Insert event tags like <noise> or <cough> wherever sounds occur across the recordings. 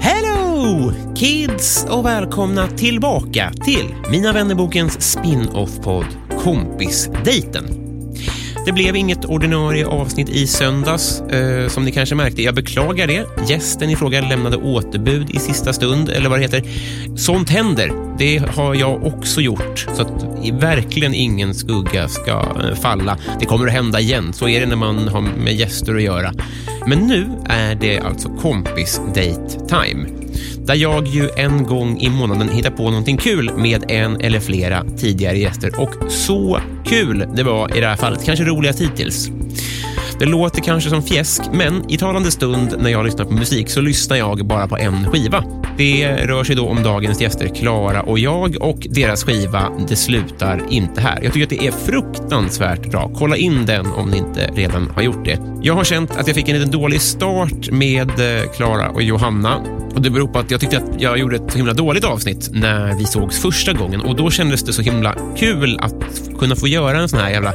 Hello kids och välkomna tillbaka till Mina vännerbokens spin-off-podd Kompisdejten. Det blev inget ordinarie avsnitt i söndags, eh, som ni kanske märkte. Jag beklagar det. Gästen i fråga lämnade återbud i sista stund, eller vad det heter. Sånt händer. Det har jag också gjort, så att i- verkligen ingen skugga ska eh, falla. Det kommer att hända igen. Så är det när man har med gäster att göra. Men nu är det alltså kompis-date-time där jag ju en gång i månaden hittar på någonting kul med en eller flera tidigare gäster. Och så kul det var i det här fallet. Kanske roligast hittills. Det låter kanske som fjäsk, men i talande stund när jag lyssnar på musik så lyssnar jag bara på en skiva. Det rör sig då om dagens gäster Klara och jag och deras skiva Det slutar inte här. Jag tycker att det är fruktansvärt bra. Kolla in den om ni inte redan har gjort det. Jag har känt att jag fick en liten dålig start med eh, Klara och Johanna och det beror på att jag tyckte att jag gjorde ett så himla dåligt avsnitt när vi sågs första gången och då kändes det så himla kul att kunna få göra en sån här jävla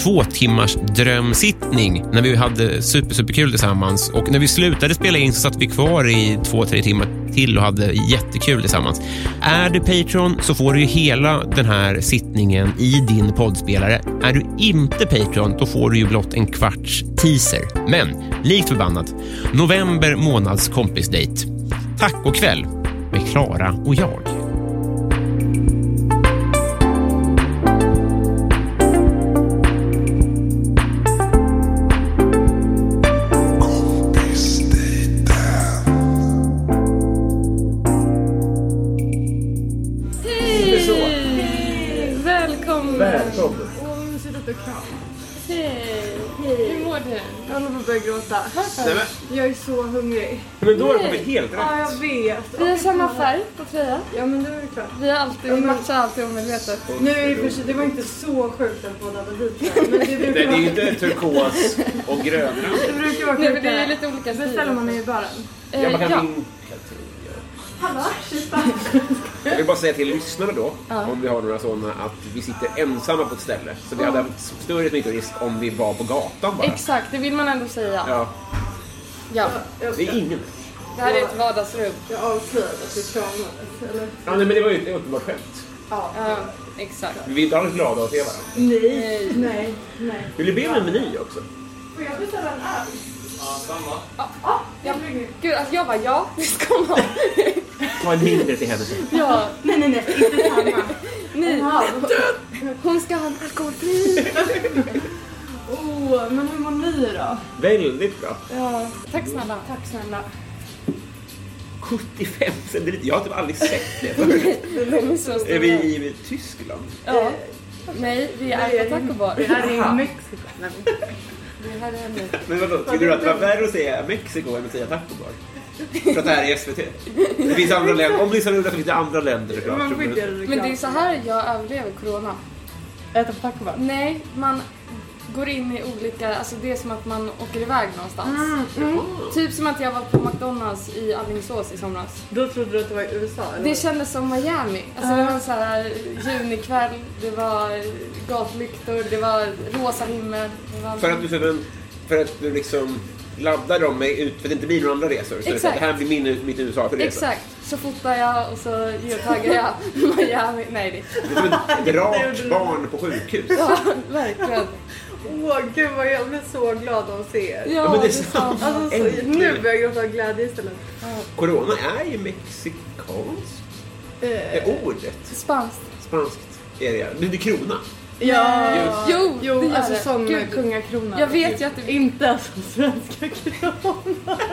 två timmars drömsittning när vi hade super, super kul tillsammans och när vi slutade spela in så satt vi kvar i två, tre timmar till och hade jättekul tillsammans. Är du Patreon så får du ju hela den här sittningen i din poddspelare. Är du inte Patreon då får du ju blott en kvarts teaser. Men likt förbannat, november månads kompisdejt. Tack och kväll med Klara och jag. Hej! Välkommen! Välkommen! Åh, vad mysigt att du kram. Hej! Hur mår du? Jag håller på att börja gråta. Varför? Jag är så hungrig. Men då har det kommit helt rätt. Ja, jag vet. Vi har samma färg på tröjan. Ja, men det var ju klart. Vi, har alltid, vi matchar alltid omedvetet. Nu är det för sig, det var inte så sjukt att båda var vita. Men det brukar vara, inte turkos och gröna. det brukar vara Nej, men det är sjukare. lite olika stilar. Beställer man i baren. Eh, ja. Hallå, tjejpa. Jag vill bara säga till lyssnarna då, om vi har några sådana, att vi sitter ensamma på ett ställe. Så vi hade haft större smittorisk om vi var på gatan bara. Exakt, det vill man ändå säga. Ja. Ja, det är ingen. Det här är ett vardagsrum. Jag avslöjade att vi kramades, eller? Ja, nej, men det var ju ett uppenbart skämt. Ja, exakt. Vi är inte alls glada att se varandra. Nej, nej, nej. Vill du be om en meny också? Får jag beställa en öl? Ja, samma. Ja, Gud, alltså jag bara ja, visst kom hon. Ta en mindre till henne. ja. nej, nej, nej, inte samma. Nej, Ja. hon ska ha en alkoholfri. Oh, men hur mår ni då? Väldigt bra. Ja. Tack snälla. Tack snälla. 75 centiliter. Jag har typ aldrig sett det förut. De är så stora. <laughs> Är vi i Tyskland? Ja. Nej, vi är på taco bar. Det här är i Mexiko. Nej, men- Det här är nu. Men vadå, tycker du att det var värre att säga Mexiko än att säga taco bar? För att det här är SVT. Det finns andra länder. Om du lyssnar nu så finns det andra länder såklart. Man får inte göra Men det reklam. är så här jag överlever corona. Äta på taco Bell. Nej, man går in i olika, alltså det är som att man åker iväg någonstans. Typ som att jag var på McDonalds i Alingsås i somras. Då trodde du att det var i USA eller? Det kändes som Miami. Alltså det var en så här junikväll, det var gatlyktor, det var rosa himmel. Det var... För typ att du, för, en, för att du liksom laddar de mig ut för att det inte blir några andra resor. Så det, Exakt. det här blir min, mitt USA-resa. Exakt, så fotar jag och så geotaggar jag <laughs> Miami. Nej, <laughs> det... Det är som ett, ett rakt barn på sjukhus. Ja, verkligen. Åh gud vad jag blir så glad av att se er. Ja, men det är är sant. Alltså, så, Äntligen. nu börjar jag gråta av glädje istället. Corona är ju mexikanskt. Är ordet Spanskt. spanskt? Är det, det är krona. Ja, Jo, jo det gör alltså det. som Gud. kungakrona. Jag vet ju att det... Inte alltså svenska kronor.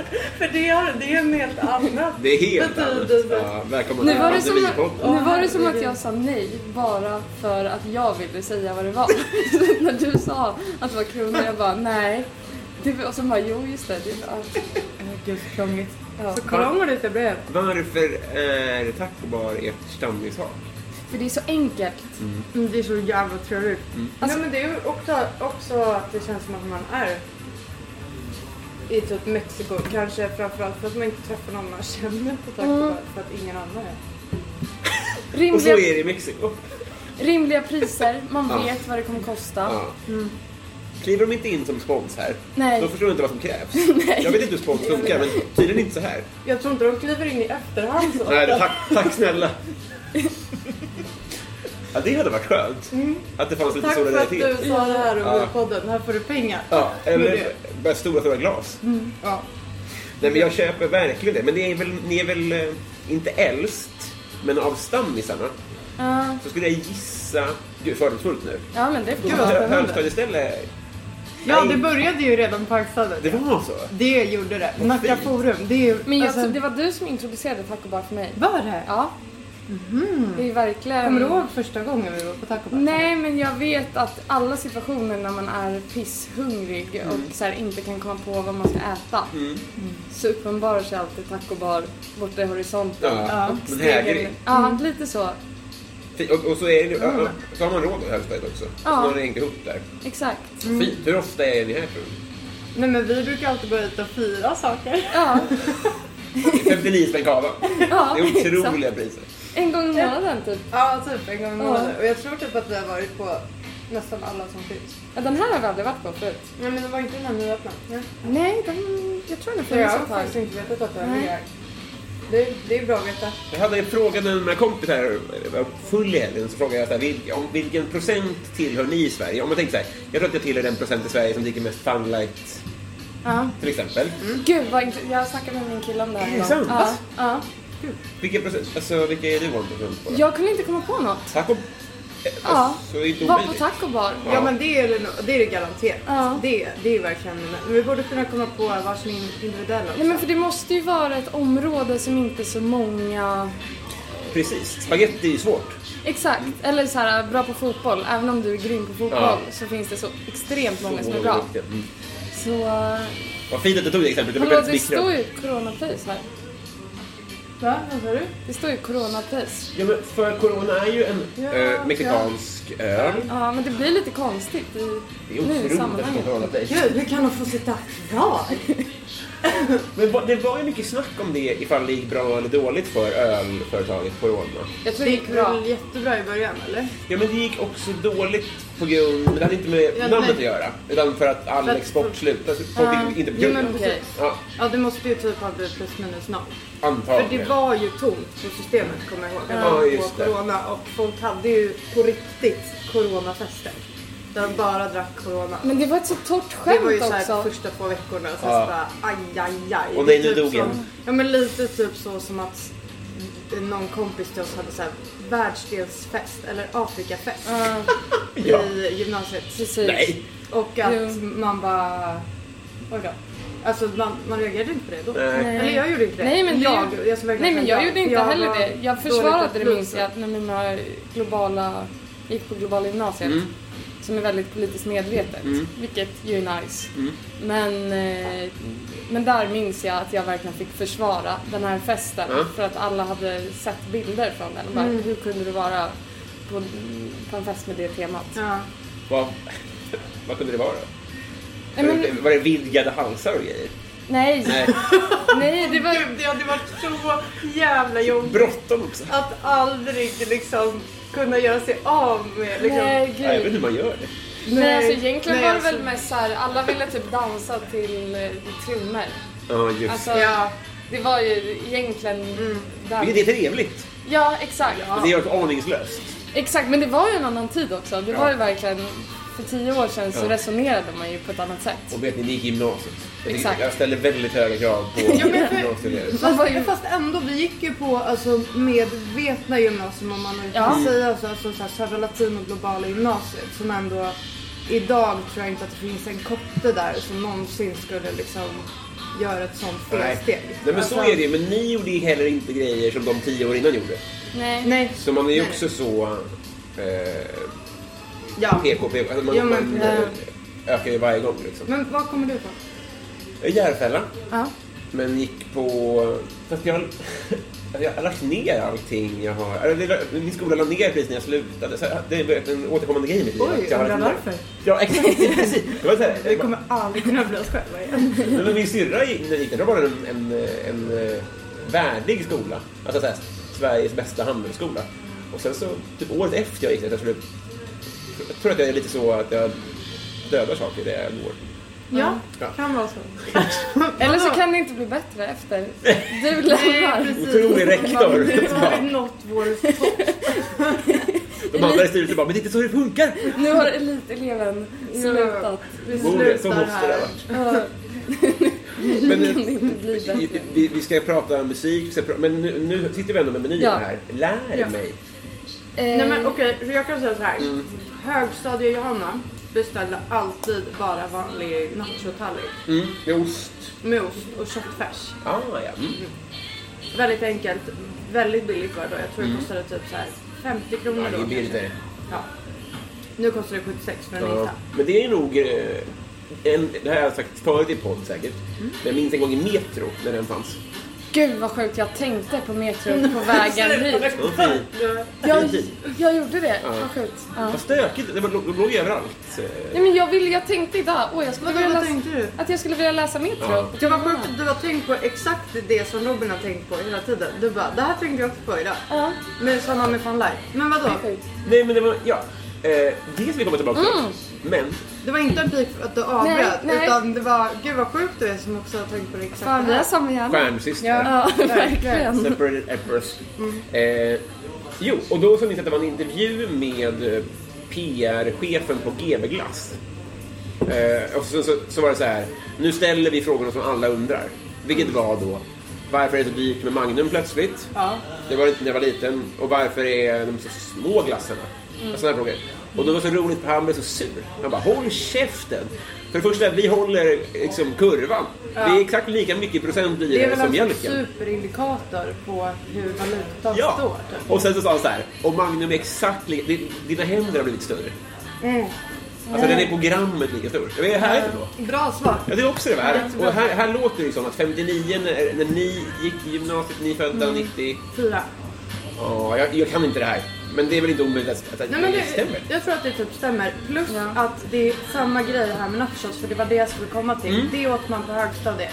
<laughs> För det, har, det är en helt annan. Det är helt annat. Betydelse. Ja, välkommen Nu var, det som, pandemipodden. nu var det som att jag sa nej bara för att jag ville säga vad det var. <laughs> Så När du sa att det var krona, jag bara nej. Det var, och så bara jo, just det. det var, Gud så krångligt. ja. Så krångligt det blev. Varför är tacobar ert stamningshav? För det är så enkelt. Mm, Det är så jävla trevligt. Mm. Nej men det är ju också, också att det känns som att man är i typ Mexiko. Kanske framförallt för att man inte träffar någon man känner på taco Bell, För att ingen annan är. Och så är Rimliga, det i Mexiko. rimliga priser, man Ja. vet vad det kommer kosta. Mm. Ja. Kliver de inte in som spons här, Nej. då förstår jag inte vad som krävs. Jag vet inte hur spons funkar, men tydligen inte så här. Jag tror inte de kliver in i efterhand så. <laughs> Nej, tack, tack snälla. Ja, det hade varit skönt. Att det fanns lite Tack för att solidaritet. du sa det här om podden. Här får du pengar. Ja, Men eller det- bara stora, stora glas. Ja. Nej, men jag köper verkligen det. Men ni är väl, ni är väl eh, inte äldst, men av stammisarna Ja. så skulle jag gissa... Gud, fördomsfullt nu. ja, men det är vad spännande. Högstadieställe? Ja, Nej. det började ju redan på högstadiet. Det var så? Det gjorde det. Nacka fint. Forum. Det är ju... Men jag, alltså, det var du som introducerade Taco Bar för mig. Var det? Ja. Det är ju verkligen... Mhm. Kommer du ihåg första gången vi var på Taco Bell? Nej, men jag vet att alla situationer när man är pisshungrig Mm. och så här, inte kan komma på vad man ska äta så uppenbarar sig alltid Taco Bar borta i horisonten. Ja. Mm. Men Stegen- hägring. Ja, lite så. Fint. Och, och så, är det, ja, så har man råd med högstadiet också. Så Ja. man ränker ihop där. Exakt. Fint. Hur ofta är ni här tror du? Nej men vi brukar alltid gå ut och fira saker. Ja, Det är 59 spänn kava. ja. Det är exakt. otroliga priser. En gång i månaden typ. Ja, typ en gång i månaden. Och jag tror typ att vi har varit på nästan alla som finns. Ja, Den här har vi aldrig varit på förut. Nej men det var inte den här nyöppnade. Nej. Nej, den, jag tror den Så funnits jag har ett tag. faktiskt inte vetat att det var Nej. mer. Det, det är bra att veta. Jag hade en fråga när mina kompisar här var full i helgen. Så frågade jag så här, vil- om vilken procent tillhör ni i Sverige? Om man tänker så här, jag tror att jag tillhör den procent i Sverige som dricker mest Funlight Ja. Mm. till exempel. Gud, vad int- jag snackade med min kille om det här Är det idag. sant? Ja, ja. Vilken procent, alltså vilka är du en procent på? då? Jag kunde inte komma på något. Taco? eh, Ja. Så är det inte Var på omöjligt. Taco Bar. Ja, men det är det, nog- det, är det garanterat. Ja. Det, det är verkligen Men vi borde kunna komma på varsin individuell också. Nej men för det måste ju vara ett område som inte så många... Precis. Spagetti är ju svårt. Exakt, eller så här bra på fotboll. Även om du är grym på fotboll Ja. så finns det så extremt många som är bra. Mm. Så... eh, Vad fint att du tog det exemplet. Det var Hallå, det väldigt står smickrande. ju coronapris här. Va? Vad sa du? Det står ju coronapris. Ja, men för corona är ju en eh, mexikansk öl. Ja, men det blir lite konstigt i, Det nu i är otroligt att sammanhanget. kontrollera dig. Gud, hur kan de få sitta kvar? Men vad- det var ju mycket snack om det ifall det gick bra eller dåligt för ölföretaget Corona. Jag tror <laughs> Det det gick är bra. väl jättebra i början eller? Ja men det gick också dåligt på grund, men det hade inte med Ja, namnet nej. att göra. Utan för att all För att- export slutade. Folk gick inte på Jo men kunden. precis. Ja, Ja det måste ju typ ha blivit plus minus noll. För det antagligen. var ju tomt på systemet kommer jag ihåg. Det var Ja, på just det. corona och folk hade ju på riktigt coronafester. Där de bara drack corona. Men det var ett så torrt Det var ju skämt såhär också. första två veckorna och sen Ja. så bara aj, aj, aj. Och nej, Det är nu typ dog som- en. Ja men lite typ så som att någon kompis till oss hade såhär världsdelsfest eller Afrikafest Ja. i gymnasiet. Precis. Nej. Och att Jo. man bara... Oj då. Alltså man, man reagerade inte på det då. Nej. Eller jag gjorde inte det. Nej men, jag, det, jag ska nej, verkligen men säga jag ja. gjorde inte Jag heller var det. Jag dåligt försvarade det minns uppvuxen. jag när mina globala, gick på globala gymnasiet. Mm. Som är väldigt politiskt medvetet, vilket ju är nice. Mm. Men, eh, men där minns jag att jag verkligen fick försvara den här festen för att alla hade sett bilder från den. Och bara, Mm. Hur kunde du vara på, på en fest med det temat? Ja. Vad, <laughs> vad kunde det vara då? Nej, men, Var det vidgade halsar och grejer? nej, Nej. <laughs> nej, det var Gud, det hade varit så jävla jobbigt Bråttom också. att aldrig liksom kunna göra sig av med liksom. Nej, Nej, jag vet gud. inte hur man gör det. Nej, Nej, alltså egentligen nej, var det väl alltså- mest såhär, alla ville typ dansa till eh, trummor. Ja, just Alltså, Ja. det var ju egentligen där. Vilket är trevligt. Ja, exakt. Men det gör det aningslöst. Exakt, men det var ju en annan tid också. Det Ja. var ju verkligen, för tio år sedan så Ja. resonerade man ju på ett annat sätt. Och vet ni, ni gick i gymnasiet. Jag tycker- Exakt. Jag ställer väldigt höga krav på men för- <laughs> gymnasieelever. Man var ju, Men Fast ändå, vi gick ju på alltså, medvetna gymnasium om man nu Ja. kan säga så, alltså, så här, Södra Latin och Globala gymnasiet som ändå idag tror jag inte att det finns en kotte där som någonsin skulle liksom göra ett sånt Nej. felsteg. Nej, men så Alltså, är det ju. Men ni gjorde ju heller inte grejer som de tio år innan gjorde. nej. Alltså, Nej, Så man är ju också så... Eh, ja. PK, PK. Alltså man, Ja, men, man eh. ökar ju varje gång liksom. Men vad kommer du ifrån? Järfälla. Ja. Men gick på... Fast jag, <laughs> jag har lagt ner allting jag har... Eller, det- min skola la ner precis när jag slutade. Så det är en återkommande grej i mitt liv. Oj, att jag har undrar lagt ner. varför. Ja, <laughs> exakt. precis. Det var så här, Vi kommer aldrig kunna bli oss själva igen. Nej, men min syrra gick när jag gick där, då var det en, en, en eh, värdig skola. Alltså såhär, Sveriges bästa handelsskola. Och sen så, typ året efter jag gick där, så skulle, jag tror att jag är lite så att jag dödar saker där jag går. Ja, Ja. kan vara <laughs> så. Eller så kan det inte bli bättre efter. Du Nej, lämnar. precis. Otrolig rektor. <laughs> Nu har vi nått vår topp. De andra i styrelsen bara, men det är inte så det funkar! Nu har eliteleven slutat. Vi Jo, det- så slutar måste det ha här. varit. Ja. Men, <laughs> eh, Det inte <laughs> blir bättre. vi, vi ska prata om musik, vi ska pra- men nu, nu sitter vi ändå med menyer Ja. här. Lär Ja. mig! Nej Eh, men okej, så jag kan säga så här. Högstadie-Johanna beställde alltid bara vanlig nachotallrik Mm, med ost. med ost och köttfärs. Ah, ja. Mm. Väldigt enkelt, väldigt billigt var det då. Jag tror det kostade typ så här 50 kronor Mm. Ja, då. det är billigt kanske. där. Ja. Nu kostar det 76 för en Ja, lita. men det är nog... eh, En, det här har jag sagt förut i podd säkert. Men jag minns en gång i Metro när den fanns. Gud vad sjukt jag tänkte på Metro <laughs> på vägen hit. Det var fint. Jag, Fin tid. jag gjorde det. Vad sjukt. Ja. Vad stökigt. Det var, de låg överallt. Eh, Nej, men jag, vill, jag tänkte idag, åh jag skulle Vadå, vilja vad läsa- tänkte du? Att jag skulle vilja läsa Metro. Ja. Det var sjukt att du har tänkt på exakt det som Robin har tänkt på hela tiden. Du bara, det här tänkte jag också på idag. Ja. Men samma med Fan Live. Men vadå? Sjukt. Nej, men det var... Ja. Eh, det ska vi komma tillbaka till. Men Det var inte en pik för att du avbröt Nej, nej. utan det var, gud vad sjukt du är som också har tänkt på det exakt Fan vi det har här. samma hjärna. stjärnsystrar. Ja, <laughs> Mm. verkligen. Separated Emperors. Eh, jo, och då så minns jag att det var en intervju med eh, PR-chefen på GB Glass. Eh, och så, så, så var det så här, nu ställer vi frågorna som alla undrar. Vilket var då, varför är det så dyrt med Magnum plötsligt? Det var det inte när jag var liten. Och varför är de så små glassarna? Mm. Sådana frågor. Och då var det så roligt, för han blev så sur. Han bara, håll käften! För det första, vi håller liksom kurvan. Det är exakt lika mycket procent i Det är det väl eh, som alltså en mjölken. superindikator på hur valutan Ja, står. typ. och sen så sa han så här, och Magnum är exakt lika, din- dina händer har blivit större. Alltså den är på grammet lika stor. Det är härligt då. typ. Bra svar. Ja, det är också det här. Och här, här låter det ju som att 59, när, när ni gick i gymnasiet, ni födda 90. Fyra. Ja, jag, jag kan inte det här. Men det är väl inte omöjligt att, att, att Nej, men det det, stämmer. jag tror att det typ stämmer. Plus att det är samma grej här med nachos för det var det jag skulle komma till. Mm. Det åt man på högstadiet.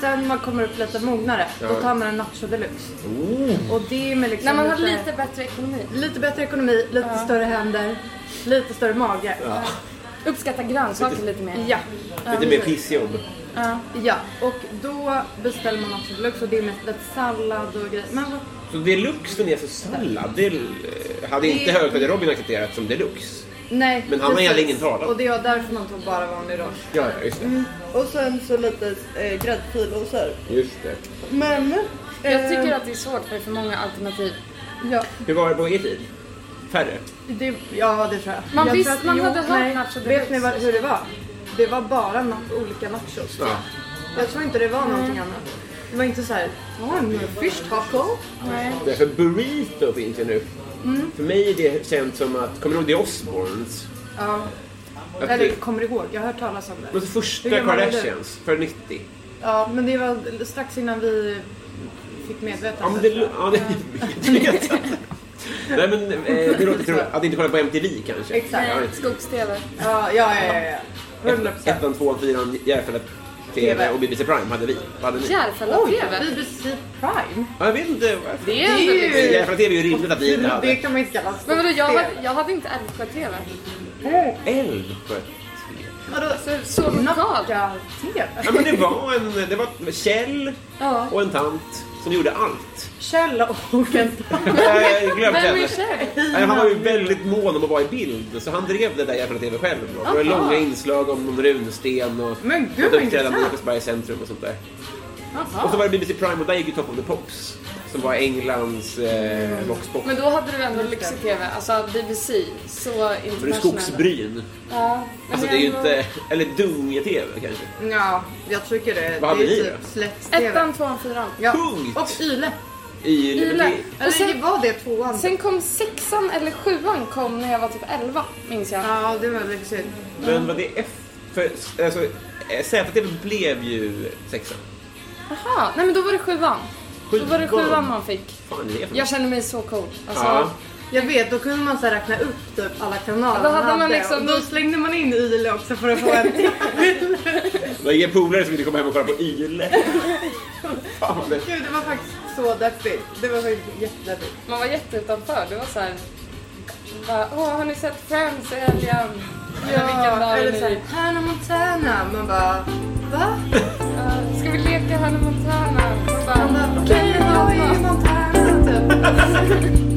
Sen man kommer upp lite mognare, då Ja. tar man en nacho deluxe. Oh, Och det är med liksom När man har lite bättre ekonomi. lite bättre ekonomi, lite större händer, lite större mage. Ja. Uppskatta grönsaker lite mer. ja. lite mer pissjobb. och då beställer man nacho deluxe och det är mest lite sallad och grejer. Men vad Så deluxen är för sallad. Det eh, hade inte Det- högstadie-Robin accepterat som deluxe. Nej, Men han har precis. heller ingen talan. Och det var därför man tog bara vanlig roll. Ja, ja, just det. Mm. Och sen så lite eh, gräddfil och så här. Just det. Men... Jag tycker att det är svårt för det är för många alternativ. Ja, Hur var det på er tid? Färre? det, ja det tror jag. Man jag visst- tror att- man hade hört nej. nacho deluxe. Vet ni vad, hur det var? Det var bara na- olika nachos. Ja. Jag tror inte det var någonting annat. Det var inte så här, ja en fish taco. Det är för burrito finns ju nu. Mm. För mig är det känt som att, kommer du ihåg The Osbournes? Ja. Att Eller det- kommer ihåg, jag har hört talas om men det. så första Hur gammal är du? Kardashians, för 90. Ja, men det var strax innan vi fick medvetandet. Ja, men det, ja, det vet jag inte. Nej men eh, det låter som att inte kolla på MTV kanske. Exakt. Ja, Skogs-TV. Ja, ja, ja, ja. ja. 100 ett- Ettan, tvåan, fyran, Järfälla TV TV. och BBC Prime hade vi. Vad hade ni? Järfälla-TV. BBC Prime? Ja, jag vet inte varför. Det är ändå Det är ju- lite... Järfälla TV är ju rimligt att vi inte Det hade. kan man inte kalla Men vadå, jag spel. hade, jag hade inte Älvsjö-TV. Eld på ett te. Vadå, så, så nackar-tv? Ja, men det var en... Det var Kjell Ja. och en tant som gjorde allt. Kjell och en tant. Nej, Jag glömde Vem henne. är Kjell? Nej, Han var ju väldigt mån om att vara i bild, så han drev det där jävla TV själv. Då. Det var Aha. långa inslag om någon runsten och Men gud, vad att uppträdande i intressant. Jakobsbergs centrum och sånt där. Och så Jaha. var det BBC Prime och där gick ju Top of the Pops, som var Englands eh, voxpop. Mm. Men då hade du ändå lyxig TV, alltså BBC. Så För det är internationell. skogsbryn. Ja, men Alltså det är ju ändå- inte... Eller dunge-tv kanske. Ja, jag tycker det. Vad hade det ni är då? typ släkts-tv. Ettan, tvåan, fyran. Ja. Punkt. Och Yle. I Yle. Liverpool. Och Eller sen, var det tvåan? sen kom sexan eller sjuan kom när jag var typ elva, minns jag. Ja, det var lyxigt. Men vad det är för... Alltså, eh, ZTV blev ju sexan. Jaha, nej men då var det sjuan. Då var det Sjuan. sjuan man fick. Fan är det för Jag känner mig så cool. Alltså, Ja. Jag vet, då kunde man så här räkna upp typ alla kanaler Då hade man hade. liksom- Och Då slängde man in Yle också för att få en till. <laughs> Det var inga polare som ville komma hem och kolla på E. Yle. <laughs> Fan vad det... Gud, det var faktiskt så deppigt. Det var faktiskt jättedeppigt. Man var jätteutanför. Det var så här... Bara, Åh, har ni sett Friends i helgen? Ja, vilken dag är eller såhär, det? Hannah Montana. Man bara, <laughs> va? Ja, Ska vi leka Hannah Montana? Och Man Bara, bara, okej, jag är i Montana typ.